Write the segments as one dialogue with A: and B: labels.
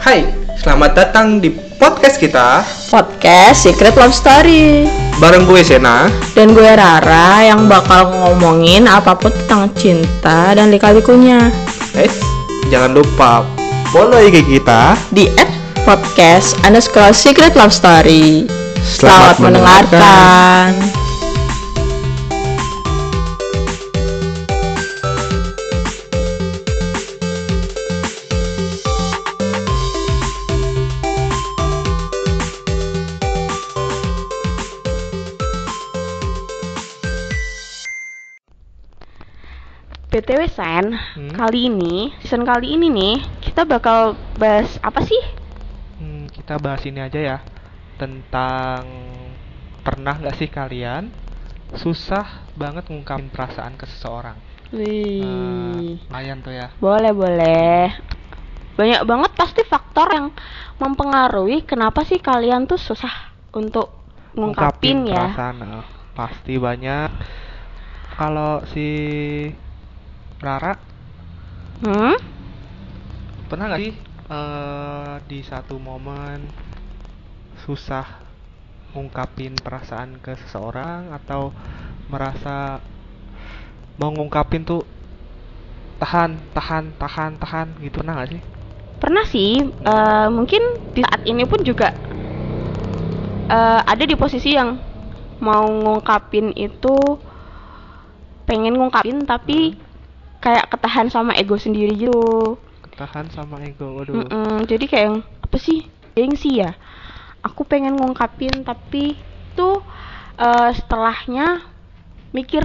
A: Hai, selamat datang di podcast kita
B: podcast Secret Love Story
A: bareng gue Sena.
B: dan gue Rara yang bakal ngomongin apapun tentang cinta dan lika-likunya
A: Eh, jangan lupa follow IG kita.
B: di at podcast underscore Secret Love Story.
A: Selamat
B: Selamat,
A: mendengarkan.
B: mendengarkan.
C: BTW Sen,
A: Hmm?
C: kali ini, season kali ini nih, kita bakal bahas apa sih?
A: Hmm, kita bahas ini aja ya tentang pernah nggak sih kalian susah banget ngungkapin perasaan ke seseorang.
C: Wih.
A: Layan tuh ya.
C: Boleh, boleh. Banyak banget pasti faktor yang mempengaruhi kenapa sih kalian tuh susah untuk ngungkapin ya.
A: perasaan eh, pasti banyak kalau si Rara
C: Hmm?
A: pernah nggak sih eh, di satu momen susah ngungkapin perasaan ke seseorang atau merasa mau ngungkapin tuh tahan tahan tahan tahan gitu pernah nggak sih
C: Pernah sih, eh, mungkin di saat ini pun juga eh, ada di posisi yang mau ngungkapin itu pengen ngungkapin tapi
A: Hmm.
C: kayak ketahan sama ego sendiri gitu.
A: tahan sama ego waduh
C: Mm-mm, jadi kayak yang, apa sih gengsi ya aku pengen ngungkapin tapi tuh eh, setelahnya mikir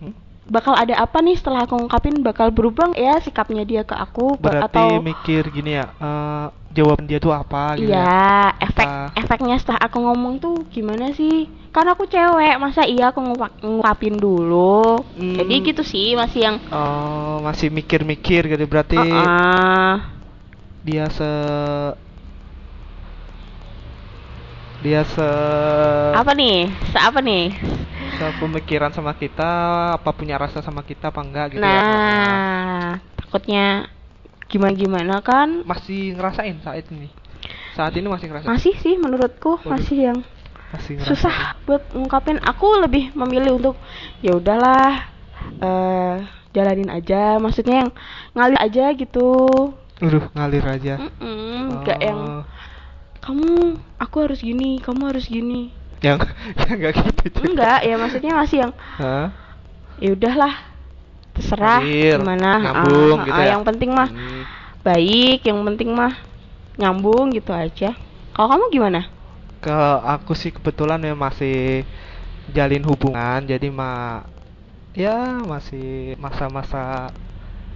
A: Hmm?
C: bakal ada apa nih setelah aku ngungkapin bakal berubah nggak ya sikapnya dia ke aku ba-
A: berarti
C: atau
A: mikir gini ya eh, jawaban dia tuh apa gitu ya
C: iya efek
A: Apa?
C: efeknya setelah aku ngomong tuh gimana sih karena aku cewek masa iya aku ngungkap- ngungkapin dulu
A: Hmm.
C: jadi gitu sih masih yang
A: Oh, masih mikir-mikir gitu berarti
C: "Ah,
A: dia se dia se
C: ah, apa nih Se- apa nih
A: pemikiran sama kita apa punya rasa sama kita apa enggak gitu ya.
C: Nah, takutnya gimana-gimana kan?
A: masih ngerasain saat ini saat ini masih ngerasain
C: Masih sih menurutku
A: Waduh.
C: masih yang
A: masih ngerasain.
C: susah buat ngungkapin. Aku lebih memilih untuk ya udahlah eh jalanin aja. Maksudnya yang ngalir aja gitu.
A: Aduh, ngalir aja
C: Mm-mm, nggak Hmm, yang
A: Ya. Oh,
C: kamu aku harus gini, kamu harus gini.
A: yang yang enggak gitu juga.
C: Enggak, ya maksudnya masih yang
A: Hah?
C: ya udahlah terserah
A: Ngalir,
C: gimana. Ah,
A: nyambung gitu
C: ah,
A: ya.
C: Yang penting mah
A: Hmm.
C: baik yang penting mah nyambung gitu aja kalau kamu gimana
A: ke aku sih kebetulan ya masih jalin hubungan jadi ma ya masih masa-masa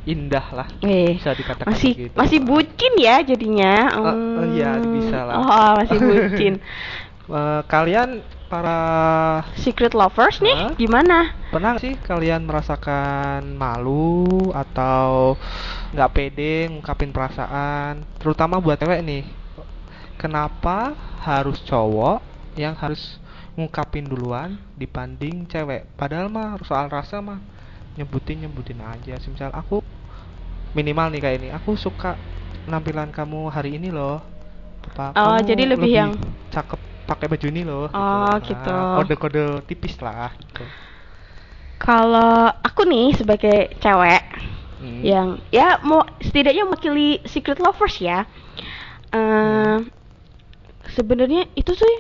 A: indah lah
C: eh
A: bisa dikatakan
C: masih
A: begitu.
C: masih bucin ya jadinya
A: Eh, eh, gitu. iya,
C: Hmm.
A: bisa lah.
C: oh masih bucin
A: Eh, kalian para
C: secret lovers nih
A: Hah?
C: gimana
A: pernah nggak sih kalian merasakan malu atau nggak pede ngungkapin perasaan terutama buat cewek nih kenapa harus cowok yang harus ngungkapin duluan dibanding cewek padahal mah soal rasa mah nyebutin nyebutin aja sih misal aku minimal nih kayak ini aku suka penampilan kamu hari ini loh apa
C: Oh,
A: kamu
C: jadi lebih yang-
A: cakep pakai baju ini loh
C: Oh,
A: gitu
C: gitu.
A: Nah, kode-kode tipis lah gitu.
C: kalau aku nih sebagai cewek
A: Hmm.
C: yang ya mau setidaknya mewakili secret lovers ya eh sebenarnya itu sih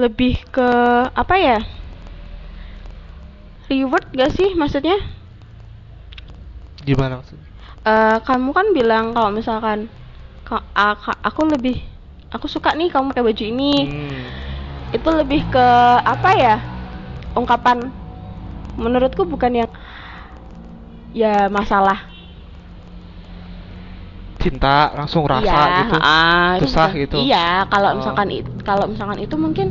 C: lebih ke apa ya reward gak sih maksudnya
A: Gimana maksudnya?
C: eh kamu kan bilang kalau misalkan "Ka- a- ka- aku lebih aku suka nih kamu pakai baju ini
A: Hmm.
C: itu lebih ke apa ya ungkapan menurutku bukan yang ya masalah
A: Cinta langsung rasa
C: Iya,
A: gitu.
C: ah, itu
A: Susah
C: bukan-
A: gitu.
C: Iya,
A: Oh.
C: kalau misalkan itu kalau misalkan itu mungkin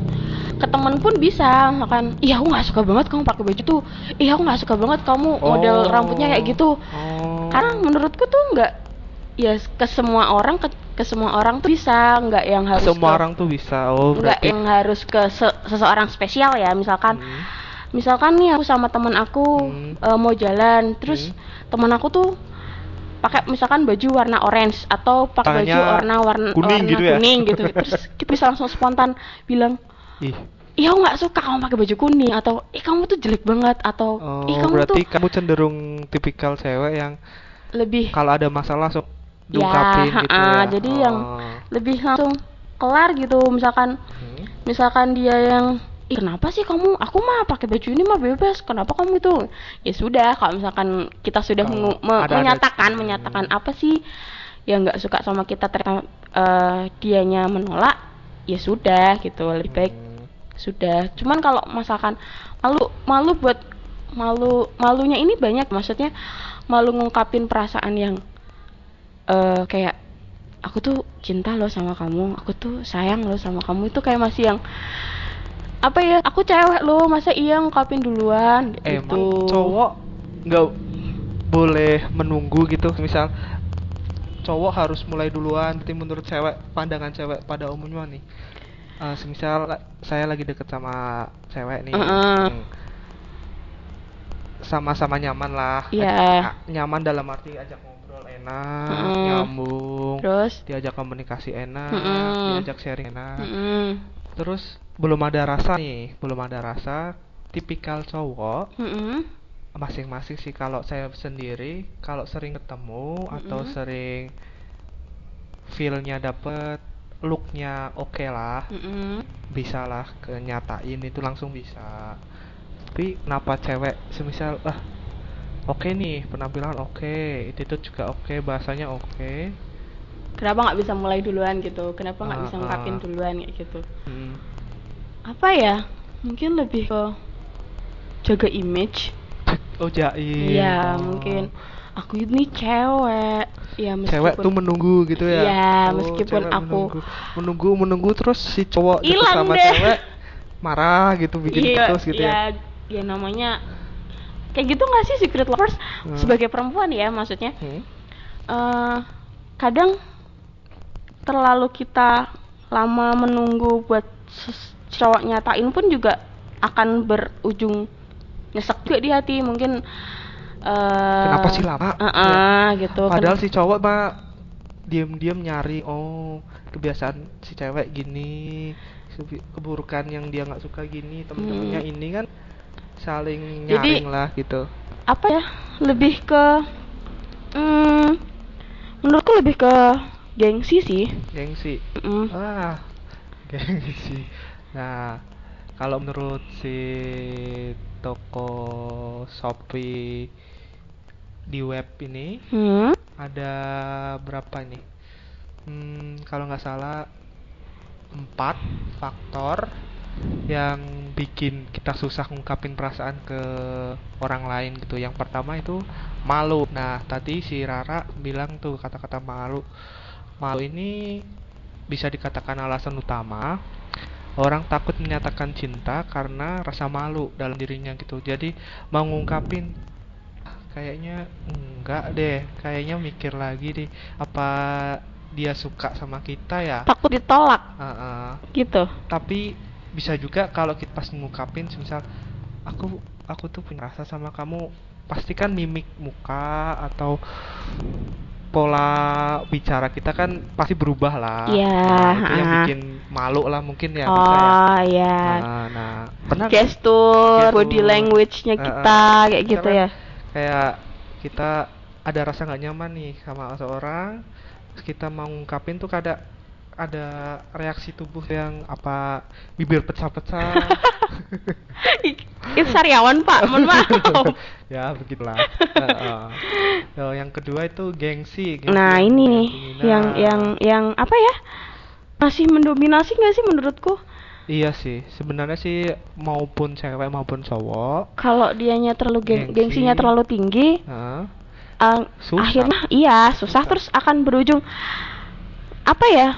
C: ke temen pun bisa misalkan iya aku nggak suka banget kamu pakai baju tuh iya aku nggak suka banget kamu model
A: Oh.
C: rambutnya kayak gitu
A: Oh.
C: karena menurutku tuh nggak ya ke semua orang ke, ke semua orang tuh bisa nggak yang harus
A: semua
C: ke-
A: orang tuh bisa. Oh,
C: nggak
A: berarti.
C: yang harus ke se- seseorang spesial ya misalkan
A: Hmm.
C: misalkan nih aku sama temen aku
A: Hmm.
C: eh, mau jalan terus
A: Hmm.
C: temen aku tuh pakai misalkan baju warna orange atau pakai baju
A: Tangannya
C: warna warna
A: kuning
C: warna
A: gitu ya?
C: kuning gitu terus kita bisa langsung spontan bilang
A: Ih,
C: Ih aku nggak suka kamu pakai baju kuning atau ih kamu tuh jelek banget atau
A: oh,
C: ih kamu
A: berarti
C: tuh
A: kamu cenderung tipikal cewek yang
C: lebih
A: kalau ada masalah langsung
C: Ya,
A: diungkapin gitu
C: ha-ha,
A: ya.
C: jadi yang-
A: Oh.
C: lebih langsung kelar gitu misalkan
A: Hmm.
C: misalkan dia yang "Ih, kenapa sih kamu aku mah pakai baju ini mah bebas kenapa kamu itu ya sudah kalau misalkan kita sudah
A: Kalau
C: mengu- me-
A: ada-ada-
C: menyatakan
A: Hmm.
C: menyatakan apa sih yang nggak suka sama kita ternyata eh, dianya menolak ya sudah gitu lebih baik
A: Hmm.
C: sudah cuman kalau misalkan malu malu buat malu malunya ini banyak maksudnya malu ngungkapin perasaan yang eh kayak aku tuh cinta loh sama kamu aku tuh sayang loh sama kamu itu kayak masih yang apa ya aku cewek loh masa iya ngungkapin duluan
A: Eh, emang
C: gitu
A: cowok nggak boleh menunggu gitu misal cowok harus mulai duluan berarti menurut cewek pandangan cewek pada umumnya nih Eh semisal la- saya lagi deket sama cewek nih
C: Heeh.
A: hmm. sama-sama nyaman lah
C: Iya.
A: Ajak- a- nyaman dalam arti ajak ngobrol enak
C: Heeh.
A: nyambung
C: terus
A: diajak komunikasi enak
C: Heeh.
A: diajak sharing enak
C: mm-mm,
A: terus belum ada rasa nih belum ada rasa tipikal cowok
C: mm-mm,
A: masing-masing sih kalau saya sendiri kalau sering ketemu atau
C: Mm-mm.
A: sering feelnya dapet looknya oke lah
C: mm-mm.
A: bisa lah kenyatain itu langsung bisa tapi kenapa cewek semisal ah oke nih penampilan oke itu juga oke bahasanya oke
C: kenapa nggak bisa mulai duluan gitu kenapa nggak
A: Ah,
C: bisa
A: ah.
C: ngungkapin duluan kayak gitu
A: Hmm,
C: apa ya mungkin lebih ke jaga image
A: oh jaim
C: Iya,
A: oh.
C: mungkin aku ini cewek ya meskipun
A: cewek tuh menunggu gitu ya
C: Iya,
A: Oh,
C: meskipun
A: cewek
C: aku-
A: menunggu. menunggu menunggu terus si cowok deket
C: Hilang
A: sama
C: deh.
A: cewek marah gitu bikin
C: Iya,
A: putus gitu ya
C: ya ya namanya kayak gitu nggak sih secret lovers
A: Hmm.
C: sebagai perempuan ya maksudnya
A: Hmm?
C: eh kadang terlalu kita lama menunggu buat ses- cowok nyatain pun juga akan berujung nyesek juga di hati mungkin eh,
A: kenapa sih lama
C: eh,
A: Ya.
C: eh, gitu
A: padahal si cowok mah diam-diam nyari oh kebiasaan si cewek gini kebi- keburukan yang dia nggak suka gini temen-temennya ini kan saling
C: Hmm. Jadi-
A: nyaring lah gitu
C: apa ya lebih ke mm, menurutku lebih ke gengsi sih
A: gengsi
C: Mm.
A: Ah, gengsi. Nah, kalau menurut si toko Shopee di web ini
C: Hmm.
A: ada berapa nih? Hmm, kalau nggak salah empat faktor yang bikin kita susah ngungkapin perasaan ke orang lain gitu. Yang pertama itu malu. Nah, tadi si Rara bilang tuh kata-kata malu. Malu ini bisa dikatakan alasan utama. Orang takut menyatakan cinta karena rasa malu dalam dirinya gitu. Jadi mau ngungkapin "Ah, kayaknya enggak deh, kayaknya mikir lagi deh apa dia suka sama kita ya.
C: takut ditolak
A: Ah, ah
C: gitu
A: tapi bisa juga kalau kita pas ngungkapin misal aku aku tuh punya rasa sama kamu pastikan mimik muka atau pola bicara kita kan pasti berubah lah
C: Iya,
A: Nah, itu yang
C: ah.
A: bikin malu lah mungkin ya bisa ya
C: oh ya
A: nah, nah, pernah nggak
C: gestur
A: Gestur.
C: body language-nya
A: Eh,
C: kita
A: eh.
C: kayak gitu
A: Karena-
C: ya
A: kayak kita ada rasa nggak nyaman nih sama seorang terus kita mau ngungkapin tuh kada ada reaksi tubuh yang apa bibir pecah-pecah
C: itu sariawan pak mohon maaf
A: ya begitulah Heeh. Nah, yang kedua itu gengsi, gengsi yang-
C: nah ini nih yang
A: dominan.
C: yang yang apa ya masih mendominasi nggak sih menurutku
A: iya sih sebenarnya sih maupun cewek maupun cowok
C: kalau dianya terlalu geng-
A: Gengsi.
C: gengsinya terlalu tinggi
A: heeh,
C: ang-
A: Susah.
C: akhirnya iya susah terus akan berujung apa ya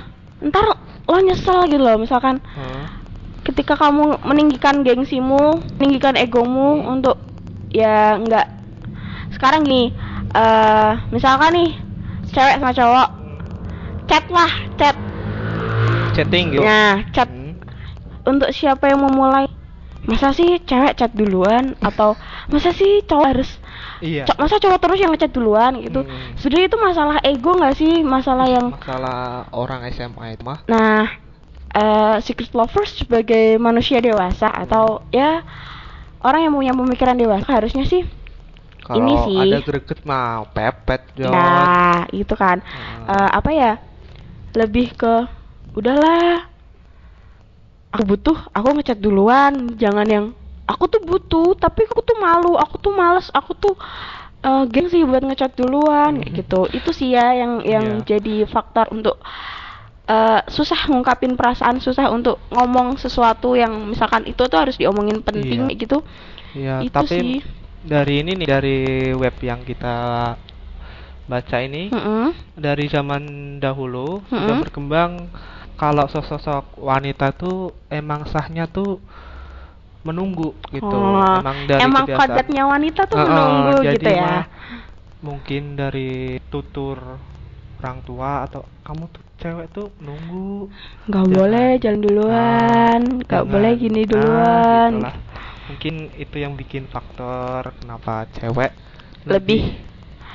C: ntar lo nyesel gitu loh misalkan
A: heeh.
C: ketika kamu meninggikan gengsimu meninggikan egomu untuk ya nggak sekarang nih eh misalkan nih cewek sama cowok chat lah chat
A: chatting gitu
C: nah chat
A: Hmm.
C: untuk siapa yang memulai masa sih cewek chat duluan atau masa sih cowok harus
A: Iya.
C: Co- masa cowok terus yang ngechat duluan gitu
A: Hmm.
C: sebenarnya itu masalah ego nggak sih masalah yang
A: Masalah orang SMA itu mah.
C: nah eh, secret lovers sebagai manusia dewasa atau ya orang yang punya pemikiran dewasa harusnya sih Ini
A: Kalau
C: sih.
A: ada greget mah pepet jod.
C: Nah, itu kan.
A: Ah.
C: Eh, apa ya? Lebih ke udahlah. Aku butuh, aku ngechat duluan, jangan yang aku tuh butuh, tapi aku tuh malu, aku tuh males, aku tuh eh, gengsi buat ngechat duluan kayak gitu. Itu sih ya yang yang
A: Mm-hmm. Iya.
C: jadi faktor untuk eh, susah ngungkapin perasaan, susah untuk ngomong sesuatu yang misalkan itu tuh harus diomongin
A: Iya.
C: penting kayak gitu.
A: Iya,
C: itu
A: tapi
C: sih.
A: dari ini nih dari web yang kita baca ini
C: Mm-mm.
A: dari zaman dahulu sudah
C: Mm-mm.
A: berkembang kalau sosok wanita tuh emang sahnya tuh menunggu gitu.
C: Oh,
A: Emang dari
C: emang
A: kebiasaan-
C: kodratnya wanita tuh
A: Heeh,
C: menunggu
A: jadi
C: gitu ya.
A: mah Mungkin dari tutur orang tua atau kamu tuh cewek tuh nunggu
C: nggak
A: Jangan.
C: boleh jalan duluan
A: Gitu kan. Ah,
C: nggak
A: jangan.
C: boleh gini
A: Ah,
C: duluan
A: gitulah. mungkin itu yang bikin faktor kenapa cewek
C: Lebih.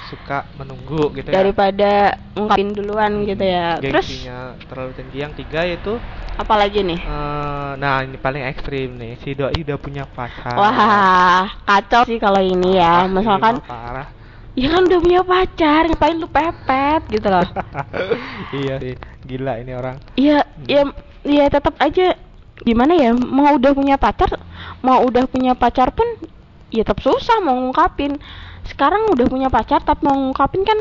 A: suka menunggu gitu ya
C: daripada ngungkapin duluan
A: Hmm,
C: gitu ya terus
A: gengsinya terlalu tinggi yang tiga yaitu
C: apalagi nih
A: eh, nah ini paling ekstrim nih si doi udah punya pacar
C: wah kacau sih kalau ini
A: Ah, ini
C: ya misalkan
A: mah parah
C: ya kan udah punya pacar ngapain lu pepet gitu loh
A: iya sih gila ini orang
C: Iya, ya, ya tetap aja gimana ya mau udah punya pacar, mau udah punya pacar pun ya tetap susah mau ngungkapin. Sekarang udah punya pacar tapi mau ngungkapin kan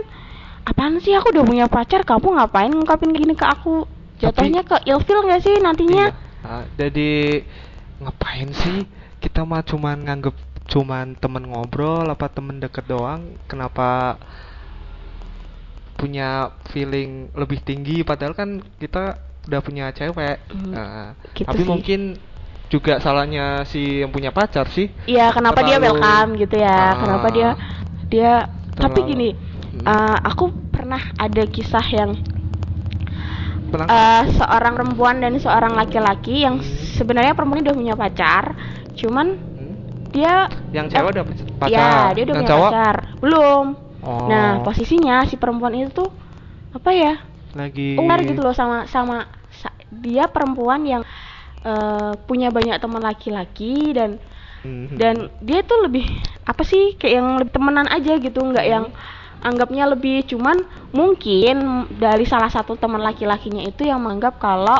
C: apaan sih aku udah punya pacar kamu ngapain ngungkapin gini ke aku?
A: Tapi-
C: Jatuhnya ke ilfil gak sih nantinya?
A: Iya. Ah, jadi ngapain sih kita mah cuman nganggep cuman temen ngobrol apa temen deket doang kenapa punya feeling lebih tinggi padahal kan kita udah punya cewek
C: Hmm,
A: Nah,
C: gitu
A: tapi
C: sih.
A: mungkin juga salahnya si yang punya pacar sih
C: Iya, kenapa dia
A: Terlalu-
C: welcome gitu ya?
A: Ah.
C: kenapa dia dia tapi
A: Terlalu-
C: gini,
A: Hmm.
C: eh, aku pernah ada kisah yang
A: Pernah-
C: eh, seorang perempuan dan seorang laki-laki yang
A: Hmm.
C: sebenarnya perempuan udah punya pacar, cuman
A: Hmm?
C: dia
A: yang cewek udah pacar
C: ya dia udah
A: yang
C: punya
A: cowok
C: pacar, belum.
A: Oh,
C: Nah posisinya si perempuan itu tuh apa ya?
A: lagi
C: Ungar gitu loh sama sama sa- dia perempuan yang eh, punya banyak teman laki-laki dan
A: Mhm.
C: dan dia tuh lebih apa sih kayak yang lebih temenan aja gitu nggak
A: Mhm.
C: yang anggapnya lebih cuman mungkin dari salah satu teman laki-lakinya itu yang menganggap kalau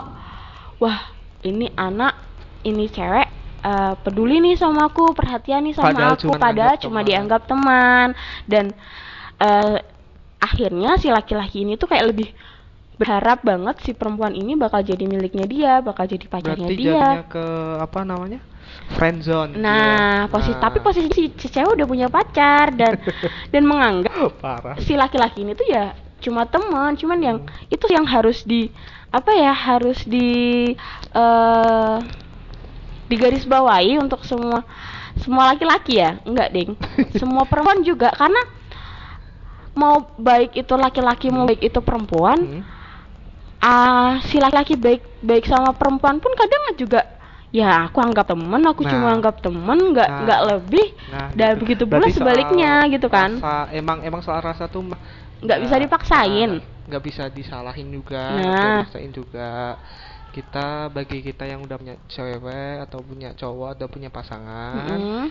C: wah ini anak ini cewek eh, peduli nih sama aku perhatian nih sama
A: Padahal
C: aku
A: cuman
C: padahal
A: anggap
C: cuma
A: teman.
C: dianggap teman dan eh, akhirnya si laki-laki ini tuh kayak lebih berharap banget si perempuan ini bakal jadi miliknya dia bakal jadi pacarnya
A: berarti
C: dia
A: jadinya ke apa namanya friendzone
C: Nah,
A: dia.
C: posisi
A: Nah.
C: tapi posisi si, si cewek udah punya pacar dan dan menganggap
A: parah
C: si laki-laki ini tuh ya cuma teman, cuman yang itu yang harus di apa ya harus di eh digarisbawahi untuk semua semua laki-laki ya, enggak ding, semua perempuan juga karena mau baik itu laki-laki mau baik itu perempuan
A: Hmm.
C: ah si laki-laki baik baik sama perempuan pun kadang juga ya aku anggap temen aku
A: Nah.
C: cuma anggap temen nggak
A: Nah.
C: nggak lebih
A: Nah,
C: dan begitu pula
A: Berarti soal
C: sebaliknya gitu kan
A: rasa- emang emang soal rasa tuh mah-
C: Nggak
A: nah,
C: bisa dipaksain.
A: nah, nggak bisa disalahin juga nggak
C: Nah.
A: dipaksain juga kita bagi kita yang udah punya cewek atau punya cowok atau punya pasangan
C: Mm-mm.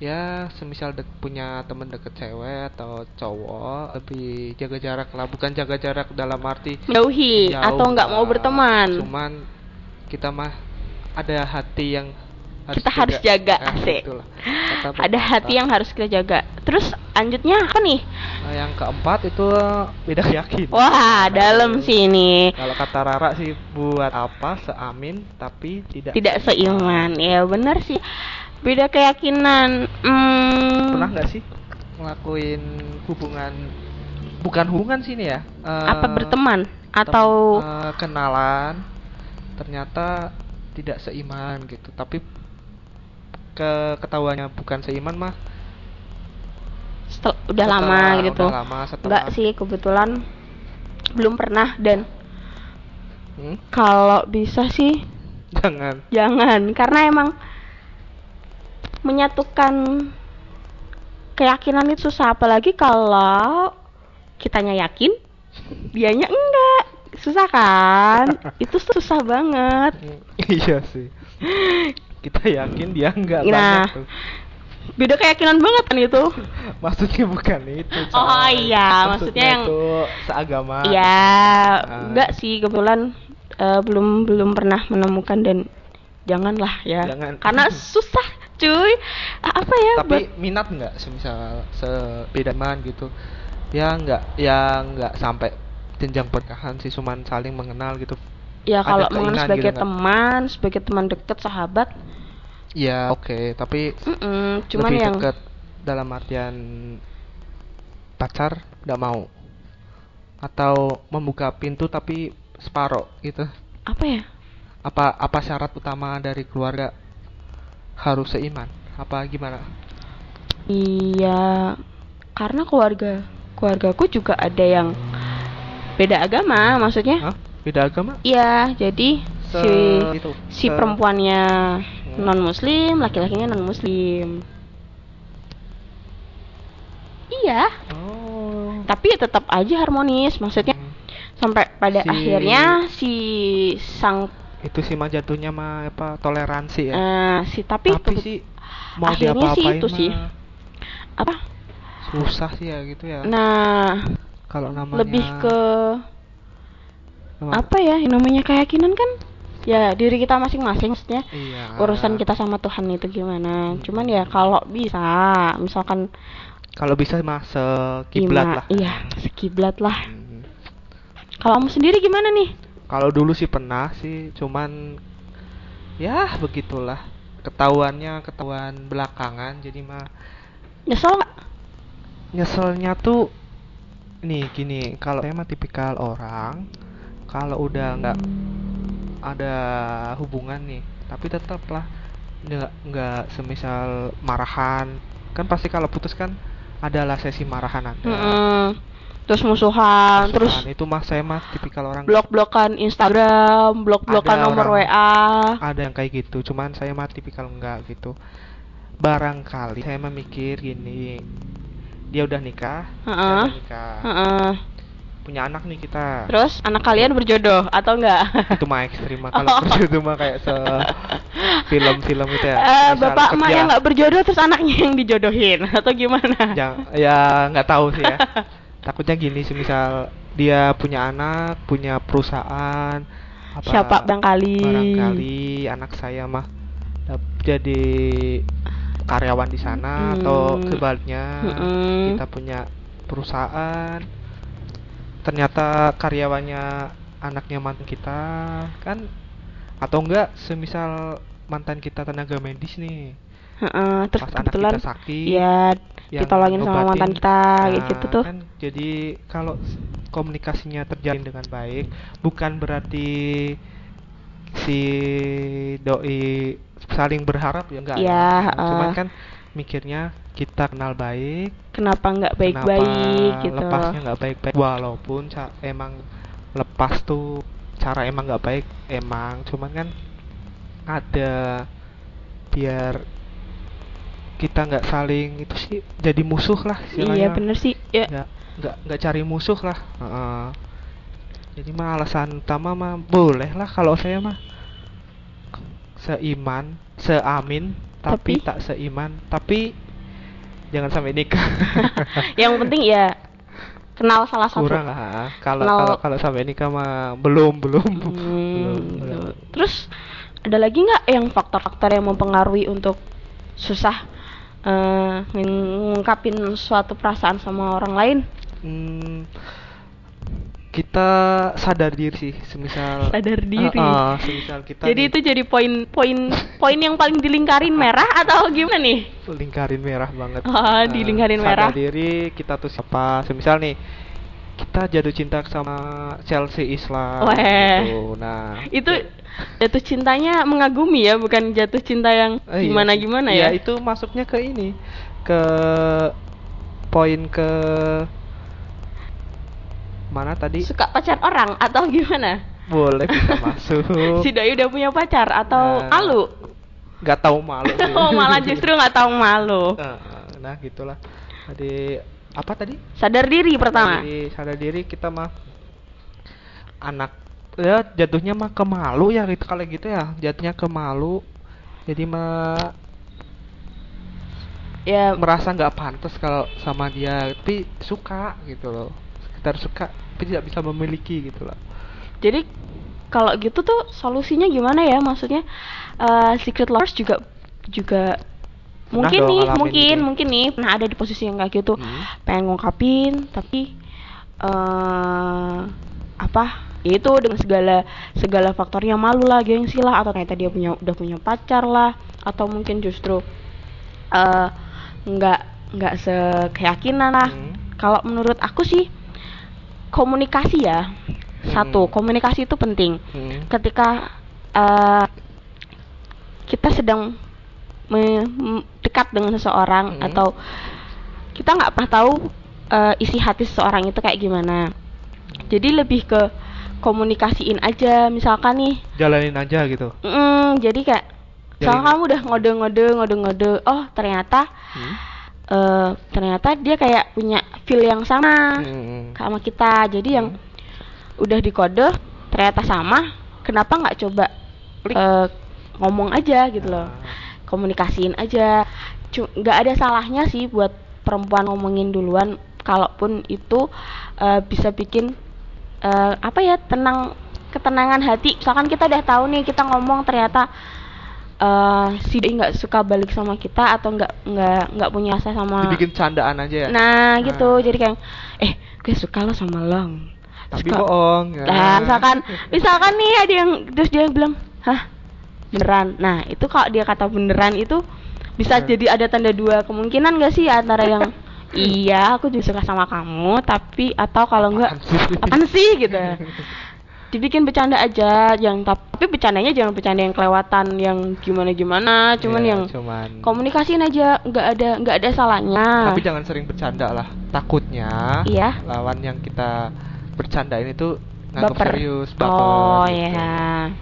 A: ya semisal dek- punya temen deket cewek atau cowok lebih jaga jarak lah bukan jaga jarak dalam arti
C: menjauhi
A: jauh
C: atau nggak mau
A: lah.
C: berteman
A: cuman kita mah ada hati yang
C: Kita harus jaga,
A: Ah,
C: asik.
A: itulah. Kata
C: ada
A: pepatah.
C: hati yang harus kita jaga terus lanjutnya apa nih
A: Nah, yang keempat itu beda keyakinan
C: wah
A: Nah,
C: dalam sih ini
A: kalau kata Rara sih buat apa seamin tapi tidak
C: tidak seiman ya bener sih beda keyakinan Hmm,
A: pernah nggak sih ngelakuin hubungan bukan hubungan sini ya eh,
C: apa berteman
A: tem-
C: atau
A: eh, kenalan ternyata tidak seiman gitu tapi ke ketahuannya bukan seiman mah
C: setel- udah
A: setelah-
C: lama gitu
A: udah lama setelah
C: Enggak sih, kebetulan belum pernah dan
A: Hmm?
C: kalau bisa sih
A: jangan
C: jangan karena emang menyatukan keyakinan itu susah apalagi kalau kitanya yakin dianya enggak susah kan itu susah banget
A: iya sih kita yakin dia enggak
C: Nah.
A: banget tuh.
C: beda keyakinan banget kan itu
A: maksudnya bukan itu
C: Oh,
A: Shay.
C: iya, maksudnya yang-
A: itu seagama
C: ya
A: Ah.
C: enggak sih kebetulan eh, belum belum pernah menemukan dan janganlah ya
A: Jangan.
C: karena susah cuy A- apa ya
A: tapi
C: buat-
A: minat nggak semisal sebeda man gitu ya nggak ya nggak sampai jenjang pernikahan sih cuman saling mengenal gitu
C: ya
A: ada
C: kalau
A: keinginan
C: mengenal sebagai
A: gitu nggak?
C: teman sebagai teman deket sahabat
A: ya oke tapi
C: mm-mm, cuman
A: lebih
C: yang
A: deket dalam artian pacar nggak mau atau membuka pintu tapi separoh gitu
C: apa ya
A: apa apa syarat utama dari keluarga harus seiman apa gimana
C: Iya, karena keluarga keluargaku juga ada yang beda agama, maksudnya.
A: Hah? beda agama
C: Iya,
A: Ah.
C: jadi
A: Se-
C: si
A: itu,
C: si
A: se-
C: perempuannya non muslim, laki-lakinya non muslim. Iya,
A: oh
C: tapi ya tetap aja harmonis, maksudnya
A: Hmm.
C: sampai pada
A: Si-
C: akhirnya si sang
A: itu sih mah jatuhnya mah apa toleransi ya
C: eh, si tapi,
A: tapi
C: tetep-
A: sih mau
C: akhirnya
A: diapa
C: sih
A: apain
C: itu sih. apa?
A: susah sih ya gitu ya
C: Nah,
A: kalau namanya
C: lebih ke
A: nama-
C: apa ya yang namanya keyakinan kan ya diri kita masing-masing maksudnya
A: iya
C: urusan kita sama Tuhan itu gimana
A: Mm-mm.
C: cuman ya kalau bisa misalkan
A: kalau bisa mah sekiblat
C: ima-
A: lah
C: iya sekiblat lah
A: Hmm.
C: kalau kamu sendiri gimana nih
A: kalau dulu sih pernah sih cuman ya begitulah ketahuannya ketahuan belakangan jadi mah
C: nyesel nggak
A: nyeselnya tuh nih gini kalau saya mah tipikal orang kalau udah nggak ada hubungan nih tapi tetap lah nggak nggak semisal marahan kan pasti kalau putus kan adalah sesi marahan ada
C: Mm-mm. terus musuhan
A: Musuhan.
C: Nah, terus
A: itu mah saya mah tipikal orang
C: blok-blokan Instagram blok-blokan
A: Ada
C: nomor
A: orang-
C: WA
A: ada yang kayak gitu cuman saya mah tipikal enggak gitu barangkali saya memikir gini dia udah nikah saya
C: Heeh.
A: udah nikah
C: Heeh.
A: punya anak nih kita
C: terus anak kalian berjodoh atau enggak Oh.
A: itu mah ekstrim mah. kalau kerja itu mah kayak se film-film gitu ya
C: Eh,
A: Misal
C: bapak emak
A: kerja.
C: yang nggak berjodoh terus anaknya yang dijodohin atau gimana?
A: Ya- ya nggak tahu sih ya takutnya gini sih misal dia punya anak punya perusahaan apa
C: Siapa barangkali?
A: barangkali
C: Hmm.
A: anak saya mah dap- jadi karyawan di sana atau
C: Mm.
A: sebaliknya
C: Mm-mm.
A: kita punya perusahaan ternyata karyawannya anaknya mantan kita kan atau enggak semisal mantan kita tenaga medis nih
C: Heeh, terus
A: pas anak
C: kebetulan
A: kita sakit
C: ya
A: yang
C: ditolongin sama
A: ngobatin.
C: mantan kita kayak
A: Nah,
C: gitu tuh.
A: kan jadi kalau s- komunikasinya terjalin dengan baik bukan berarti si doi saling berharap ya enggak
C: Ya,
A: ya. cuman
C: eh.
A: kan mikirnya kita kenal baik
C: Kenapa nggak
A: kenapa
C: baik-baik gitu?
A: lepasnya nggak baik-baik walaupun ca- emang lepas tuh cara emang nggak baik emang cuman kan ada biar kita nggak saling itu sih jadi musuh lah
C: Iya
A: istilahnya.
C: bener sih. Ya,
A: nggak nggak nggak cari musuh lah Heeh. jadi mah alasan utama mah boleh lah kalau saya mah seiman seamin tapi,
C: Tapi?
A: tak seiman tapi jangan sampai nikah
C: yang penting ya kenal salah satu.
A: kurang lah kalau
C: Kenal-
A: kalau kalau sampai nikah mah belum belum
C: Hmm,
A: belum,
C: gitu.
A: belum.
C: Terus ada lagi nggak yang faktor-faktor yang mempengaruhi untuk susah eh, mengungkapin suatu perasaan sama orang lain?
A: Hmm, kita sadar diri sih semisal
C: Sadar diri.
A: Heeh, semisal kita
C: Jadi
A: nih-
C: itu jadi poin-poin poin yang paling dilingkarin merah atau gimana nih?
A: lingkarin merah banget.
C: Ah,
A: Eh,
C: di lingkarin merah.
A: Sadar diri kita tuh siapa? Semisal nih kita jatuh cinta sama Chelsea Islam.
C: Weh.
A: gitu. Nah,
C: Itu jatuh cintanya mengagumi ya, bukan jatuh cinta yang
A: eh, iya
C: gimana
A: sih.
C: gimana
A: Iya,
C: ya?
A: itu masuknya ke ini ke poin ke mana tadi?
C: Suka pacar orang atau gimana?
A: Boleh bisa masuk.
C: Si doi udah punya pacar atau
A: Nah.
C: malu?
A: Gak tahu malu sih.
C: Oh malah justru Oh, nggak tahu malu.
A: Eh, eh, nah, gitulah. adik apa tadi
C: sadar diri pertama
A: Jadi sadar diri kita mah anak ya jatuhnya mah ke malu ya gitu kalau gitu ya jatuhnya ke malu jadi mah
C: ya
A: merasa nggak pantas kalau sama dia tapi suka gitu loh sekitar suka tapi tidak bisa memiliki gitu loh
C: jadi kalau gitu tuh solusinya gimana ya maksudnya eh, secret lovers juga juga
A: Pernah
C: mungkin
A: dong
C: nih
A: ngalamin
C: mungkin
A: gitu.
C: mungkin nih pernah ada di posisi yang kayak gitu
A: Hmm.
C: pengen ngungkapin tapi eh apa ya itu dengan segala segala faktornya malu lah gengsi lah atau ternyata dia punya udah punya pacar lah atau mungkin justru eh, nggak nggak sekeyakinan lah
A: Hmm.
C: kalau menurut aku sih komunikasi ya satu
A: Hmm.
C: komunikasi itu penting
A: Hmm.
C: ketika eh, kita sedang me- m- dekat dengan seseorang
A: Hmm.
C: atau kita nggak pernah tahu eh, isi hati seseorang itu kayak gimana jadi lebih ke komunikasiin aja misalkan nih
A: jalanin aja gitu
C: mm, jadi kayak misalkan
A: Jadi-
C: kamu udah ngode-ngode ngode-ngode oh ternyata
A: Hmm.
C: eh, ternyata dia kayak punya feel yang sama
A: Hmm.
C: sama kita jadi yang udah dikode ternyata sama kenapa nggak coba
A: Klik. Ah.
C: eh, ngomong aja gitu loh komunikasiin aja Cu- nggak ada salahnya sih buat perempuan ngomongin duluan kalaupun itu eh, bisa bikin eh, apa ya tenang ketenangan hati misalkan kita udah tahu nih kita ngomong ternyata eh, si doi nggak suka balik sama kita atau nggak nggak nggak punya rasa sama
A: Ah. dibikin candaan aja ya
C: nah gitu
A: Nah.
C: jadi kayak eh gue suka lo sama lo
A: tapi
C: Suka-
A: bohong ya.
C: Nah, misalkan misalkan nih ada yang terus dia bilang, "Hah? Beneran." Nah, itu kalau dia kata beneran itu bisa
A: Bener.
C: jadi ada tanda dua kemungkinan gak sih antara yang iya, aku juga suka sama kamu, tapi atau kalau enggak
A: Apaan sih?
C: apaan sih gitu. Dibikin bercanda aja yang tap- tapi bercandanya jangan bercanda yang kelewatan yang gimana-gimana, cuman
A: Iya,
C: yang
A: cuman
C: komunikasiin aja, nggak ada nggak ada salahnya.
A: tapi jangan sering bercanda lah takutnya
C: Ah. Iya.
A: lawan yang kita bercandain itu nganggap
C: Baper.
A: serius baper
C: oh
A: gitu.
C: ya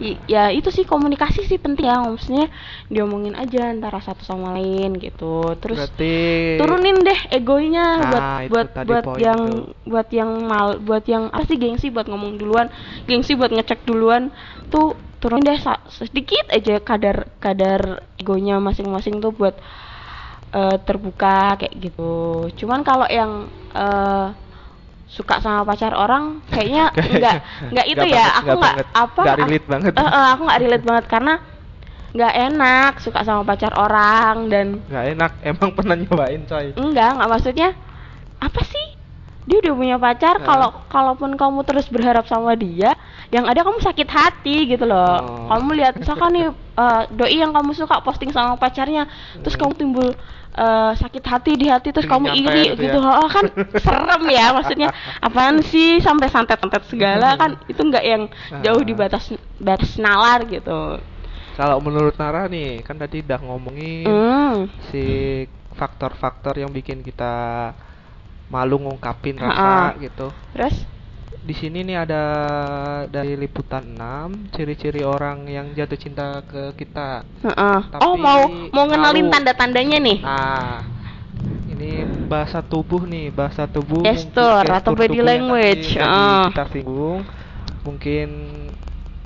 C: I- ya itu sih komunikasi sih penting ya maksudnya diomongin aja antara satu sama lain gitu terus
A: berarti
C: turunin deh egonya
A: Nah,
C: buat
A: itu
C: buat
A: tadi
C: buat
A: poin
C: yang
A: itu.
C: buat yang mal buat yang apa sih gengsi buat ngomong duluan gengsi buat ngecek duluan tuh turunin deh sa- sedikit aja kadar kadar egonya masing-masing tuh buat eh, terbuka kayak gitu cuman kalau yang eh, suka sama pacar orang kayaknya
A: Kayak-
C: nggak nggak itu
A: nggak
C: ya
A: banget,
C: aku
A: nggak
C: nggak
A: banget.
C: apa
A: Nggak relate
C: aku-
A: banget.
C: Eh, eh, aku nggak relate banget karena nggak enak suka sama pacar orang dan
A: nggak enak emang pernah nyobain coy
C: enggak enggak maksudnya apa sih dia udah punya pacar
A: Nah.
C: kalau kalaupun kamu terus berharap sama dia yang ada kamu sakit hati gitu loh
A: Oh.
C: kamu lihat misalkan nih eh, doi yang kamu suka posting sama pacarnya terus kamu timbul eh, sakit hati di hati terus
A: Pengen
C: kamu
A: Hmm. nyampe
C: iri
A: gitu
C: gitu
A: ya.
C: oh, kan serem ya maksudnya apaan sih sampai santet-santet segala
A: Hmm.
C: kan itu enggak yang jauh di
A: Ah.
C: batas batas nalar gitu
A: kalau menurut Nara nih kan tadi udah ngomongin
C: Hmm.
A: si faktor-faktor yang bikin kita malu ngungkapin
C: Ha-ha.
A: rasa gitu
C: terus
A: di sini nih ada dari liputan 6 ciri-ciri orang yang jatuh cinta ke kita
C: heeh. oh
A: Tapi
C: mau mau ngenalin
A: tahu.
C: tanda-tandanya nih
A: Nah, ini bahasa tubuh nih, bahasa tubuh. mungkin
C: Gestur atau
A: tubuh
C: body
A: yang
C: language,
A: tadi- tadi
C: ah.
A: Kita singgung, mungkin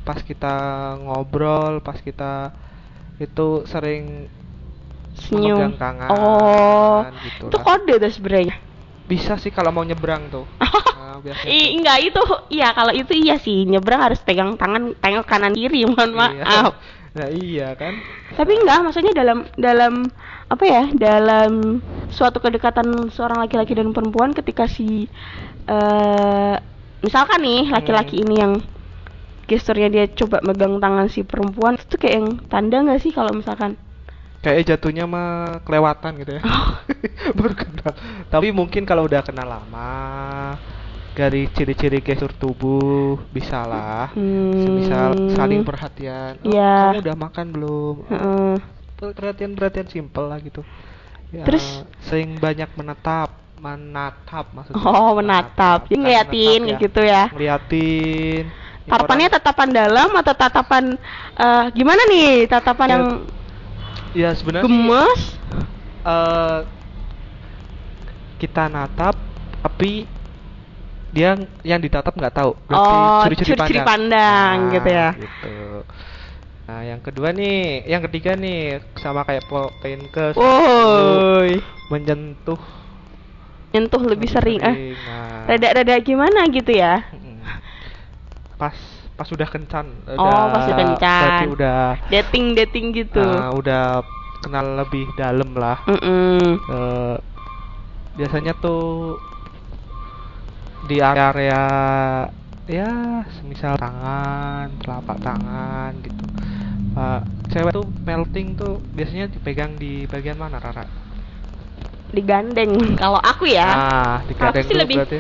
A: pas kita ngobrol, pas kita itu sering
C: senyum
A: memegang tangan.
C: oh
A: gitu
C: itu
A: lah.
C: kode tuh sebenarnya
A: Bisa sih kalau mau nyebrang tuh. Nah, biasanya
C: Ih,
A: tuh.
C: enggak itu iya kalau itu iya sih nyebrang harus pegang tangan tengok kanan kiri
A: Iya.
C: mohon maaf
A: Nah, iya kan?
C: tapi enggak maksudnya dalam dalam apa ya dalam suatu kedekatan seorang laki-laki dan perempuan ketika si eh misalkan nih
A: Hmm.
C: laki-laki ini yang gesturnya dia coba megang tangan si perempuan itu tuh kayak yang tanda nggak sih kalau misalkan
A: Kayak jatuhnya mah kelewatan gitu ya. baru kenal. Tapi mungkin kalau udah kenal lama dari ciri-ciri gestur tubuh bisa lah.
C: hmm,
A: Semisal saling perhatian. Oh,
C: Iya.
A: Kamu udah makan belum?
C: Heeh.
A: Perhatian-perhatian simpel lah gitu. Ya,
C: Terus?
A: sering banyak menatap, menatap maksudnya.
C: Oh, menatap. Jadi
A: Bukan
C: ngeliatin
A: menatap ya.
C: gitu ya.
A: Ngeliatin. Ini
C: Tatapannya
A: orang-
C: tatapan dalam atau tatapan eh, gimana nih? Tatapan
A: Ya,
C: yang
A: ya sebenarnya sih,
C: gemes?
A: eh, kita natap tapi dia yang ditatap nggak tahu
C: Oh,
A: curi-curi
C: curi-curi pandang gitu ya.
A: gitu. Nah, yang kedua nih, yang ketiga nih sama kayak po- poin ke
C: Woi,
A: menyentuh
C: nyentuh lebih sering. Eh,
A: Nah,
C: rada-rada gimana gitu ya?
A: mm-mm. Pas pas udah kencan,
C: Oh, pas udah kencan.
A: Berarti udah
C: Dating dating gitu.
A: ah, udah kenal lebih dalam lah.
C: Mm-mm.
A: Eh, biasanya tuh di area ya semisal tangan telapak tangan gitu Eh, cewek tuh melting tuh biasanya dipegang di bagian mana Rara?
C: Digandeng. Kalau aku ya,
A: Ah, digadeng
C: Aku sih
A: dulu
C: lebih-
A: berarti.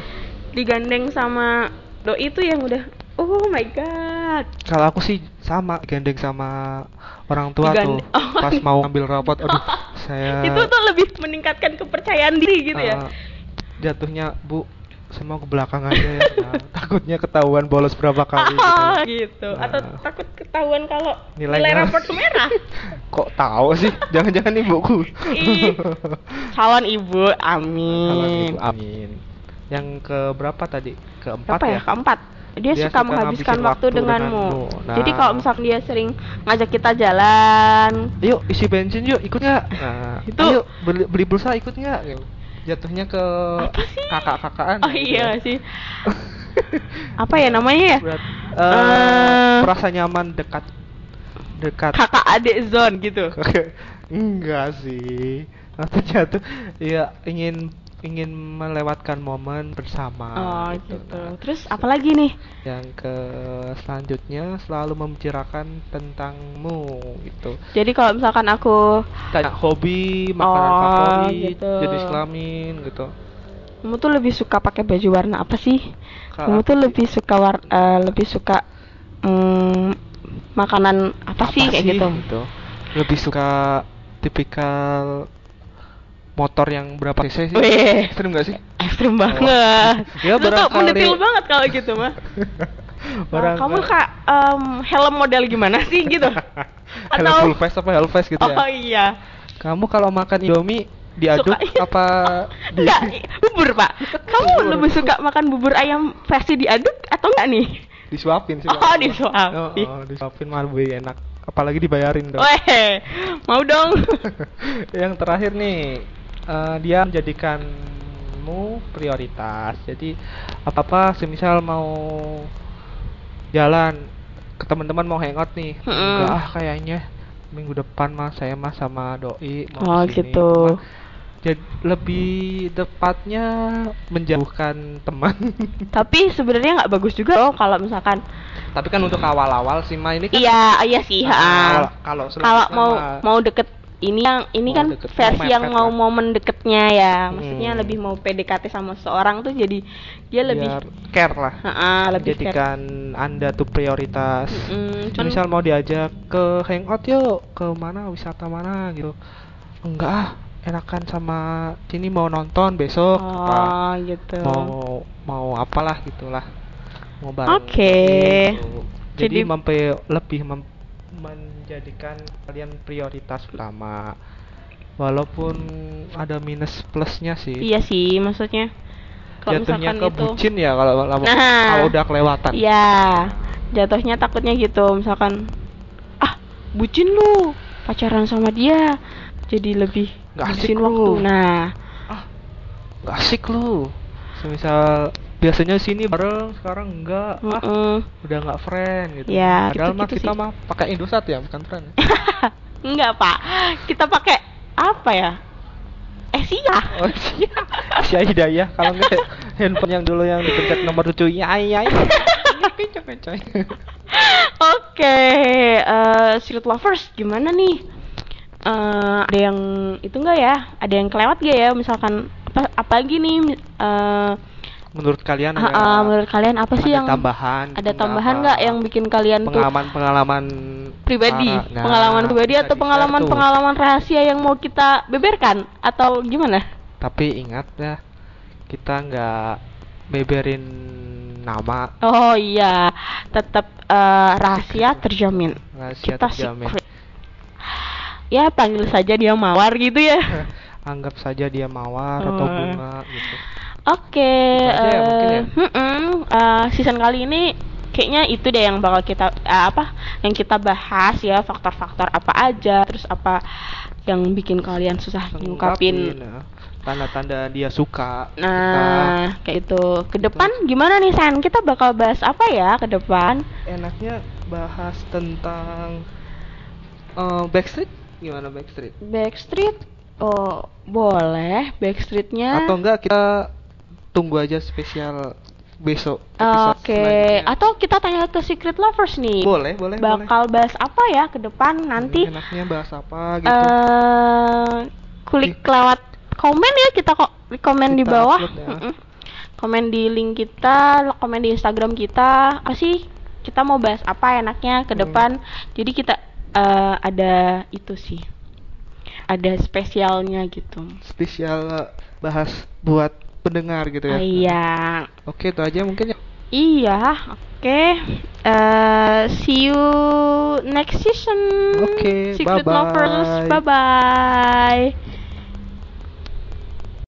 C: digandeng sama doi itu yang udah Oh my god.
A: Kalau aku sih sama digandeng sama orang tua
C: Digandeng.
A: tuh pas mau ambil rapot. Aduh, saya
C: oh. itu tuh lebih meningkatkan kepercayaan diri gitu ya.
A: eh, jatuhnya Bu saya mau ke belakang aja ya. Nah, takutnya ketahuan bolos berapa kali gitu.
C: Ah, gitu. Atau
A: Nah.
C: takut ketahuan kalau
A: Nilainya.
C: nilai, raport merah.
A: Kok tahu sih? Jangan-jangan ibuku.
C: Ih. Calon ibu,
A: Salah ibu,
C: amin.
A: Amin. Hmm. Yang ke berapa tadi? Keempat
C: Apa ya? Keempat. Dia,
A: Dia
C: suka
A: suka
C: menghabiskan
A: ngabisin
C: waktu
A: waktu
C: denganmu.
A: denganmu. Nah.
C: Jadi kalau misalkan dia sering ngajak kita jalan,
A: Yuk isi bensin yuk, ikut nggak? Nah, ayo
C: Itu-
A: beli, beli pulsa ikut nggak? Gitu. Jatuhnya ke
C: Apa sih?
A: kakak-kakaan.
C: oh
A: gitu
C: iya
A: ya.
C: sih. Apa ya namanya ya?
A: Berat- eh,
C: Eh.
A: merasa nyaman dekat dekat.
C: Kakak adik zone gitu.
A: Enggak sih. Atau jatuh ya ingin ingin melewatkan momen bersama
C: Oh
A: gitu.
C: gitu.
A: Nah,
C: Terus apalagi nih?
A: yang ke selanjutnya selalu membicarakan tentangmu gitu
C: Jadi kalau misalkan aku
A: tanya hobi makanan
C: Oh,
A: favorit
C: gitu.
A: jenis kelamin gitu
C: kamu tuh lebih suka pakai baju warna apa sih?
A: Kalau
C: kamu tuh lebih suka war eh, lebih suka mm, makanan apa, sih kayak gitu?
A: lebih suka tipikal motor yang berapa cc sih
C: Wih,
A: ekstrim gak sih
C: ekstrim banget.
A: Ya,
C: Lu tuh
A: barangkali-
C: mendetil banget kalau gitu mah.
A: Barang-
C: Oh, kamu kan- kak em, helm model gimana sih gitu?
A: Helm
C: atau-
A: full face apa hell face gitu
C: Oh
A: ya
C: iya,
A: kamu kalau makan indomie diaduk
C: Suka- ya.
A: apa di-
C: enggak i- bubur pak.
A: Bubur.
C: Kamu lebih suka makan bubur ayam versi diaduk atau enggak nih?
A: disuapin sih
C: Oh,
A: Pak.
C: disuapin.
A: oh, oh, disuapin malah lebih enak apalagi dibayarin
C: Oh,
A: dong
C: Weh, mau dong?
A: yang terakhir nih eh, dia menjadikanmu prioritas jadi apa apa semisal mau jalan ke teman-teman mau hangout nih
C: Mm-mm.
A: enggak ah kayaknya minggu depan mas saya mas sama doi
C: Oh,
A: mau kesini."
C: gitu.
A: Cuman, jadi lebih tepatnya menjauhkan teman
C: Tapi sebenarnya nggak bagus juga loh kalau misalkan.
A: tapi kan untuk awal-awal sih ma ini kan
C: Mm. Iya, iya sih.
A: awal-
C: ha.
A: kalau
C: kalau
A: selanjutnya
C: mau
A: mah-
C: mau deket ini yang ini
A: Mau
C: kan
A: deket, mau
C: versi yang
A: mepet
C: mau
A: lah.
C: momen deketnya ya maksudnya
A: Hmm.
C: lebih mau PDKT sama seorang tuh jadi dia lebih
A: biar care lah
C: Ha-ha, lebih care.
A: jadikan anda tuh prioritas
C: Mm-mm, cuman-
A: misal mau diajak ke hangout yuk ke mana wisata mana gitu enggak ah enakan sama sini mau nonton besok apa
C: oh gitu
A: mau mau apalah gitulah mau bareng
C: Oke.
A: gitu. jadi,
C: Jadi-
A: mempe- lebih mem- menjadikan kalian prioritas utama walaupun ada minus plusnya sih
C: iya sih maksudnya kalau
A: gitu. jatuhnya
C: misalkan
A: ke
C: itu
A: bucin ya kalau kalau-
C: Nah.
A: kalau udah kelewatan
C: iya jatuhnya takutnya gitu misalkan ah bucin lu pacaran sama dia jadi lebih
A: Nggak asik
C: ngabisin
A: lu.
C: waktu nah
A: Gak asik lu semisal biasanya sini bareng sekarang enggak ah
C: mm-mm.
A: udah nggak friend gitu
C: Ya,
A: padahal mah
C: gitu-gitu
A: kita
C: sih.
A: mah pakai Indosat ya bukan friend ya.
C: Enggak, Pak. Kita pakai apa ya? Eh, sia.
A: oh iya si Hidayah kalau enggak handphone yang dulu yang dipencet nomor tujuh ya ya ya
C: Oke, eh, Secret Lovers gimana nih? Eh, ada yang itu enggak ya? Ada yang kelewat gak ya? Misalkan apa apalagi nih eh
A: menurut kalian ada-
C: ah, ah, menurut kalian apa sih
A: ada
C: yang
A: tambahan
C: ada tambahan nggak yang bikin kalian tuh
A: pengalaman pengalaman
C: pribadi,
A: Ah, Nah,
C: pengalaman pribadi atau pengalaman-pengalaman rahasia yang mau kita beberkan atau gimana?
A: tapi ingat ya kita nggak beberin nama
C: Oh iya, tetap eh, rahasia terjamin.
A: rahasia
C: Kita
A: terjamin
C: secret. Ya panggil saja dia mawar gitu ya.
A: anggap saja dia mawar atau
C: Hmm.
A: bunga gitu
C: Oke,
A: Itu aja ya,
C: eh,
A: mungkin ya?
C: mm-mm, eh, season kali ini kayaknya itu deh yang bakal kita eh, apa yang kita bahas ya faktor-faktor apa aja, terus apa yang bikin kalian susah
A: Ungkapin,
C: ngungkapin.
A: ya. tanda-tanda dia suka gitu kan. kita
C: Nah, kayak itu. Ke depan gimana nih San? Kita bakal bahas apa ya ke depan?
A: enaknya bahas tentang eh, backstreet gimana backstreet
C: Backstreet? Oh, boleh. Backstreetnya?
A: atau enggak kita tunggu aja spesial besok episode
C: Oke,
A: selanjutnya.
C: atau kita tanya ke Secret Lovers nih.
A: boleh boleh boleh.
C: bakal bahas apa ya ke depan nanti?
A: enaknya bahas apa gitu
C: eh kulik lewat komen ya kita kok komen di
A: Kita
C: bawah.
A: upload ya.
C: Mm-mm. Komen di link kita, komen di Instagram kita. Apa sih kita mau bahas apa enaknya ke
A: Hmm.
C: depan? Jadi kita eh, ada itu sih. Ada spesialnya gitu.
A: spesial eh, bahas buat pendengar gitu ya
C: Ah, Iya.
A: oke itu aja mungkin ya
C: Iya, oke. Eh, see you next season.
A: Oke,
C: Secret
A: bye-bye.
C: lovers. Bye bye.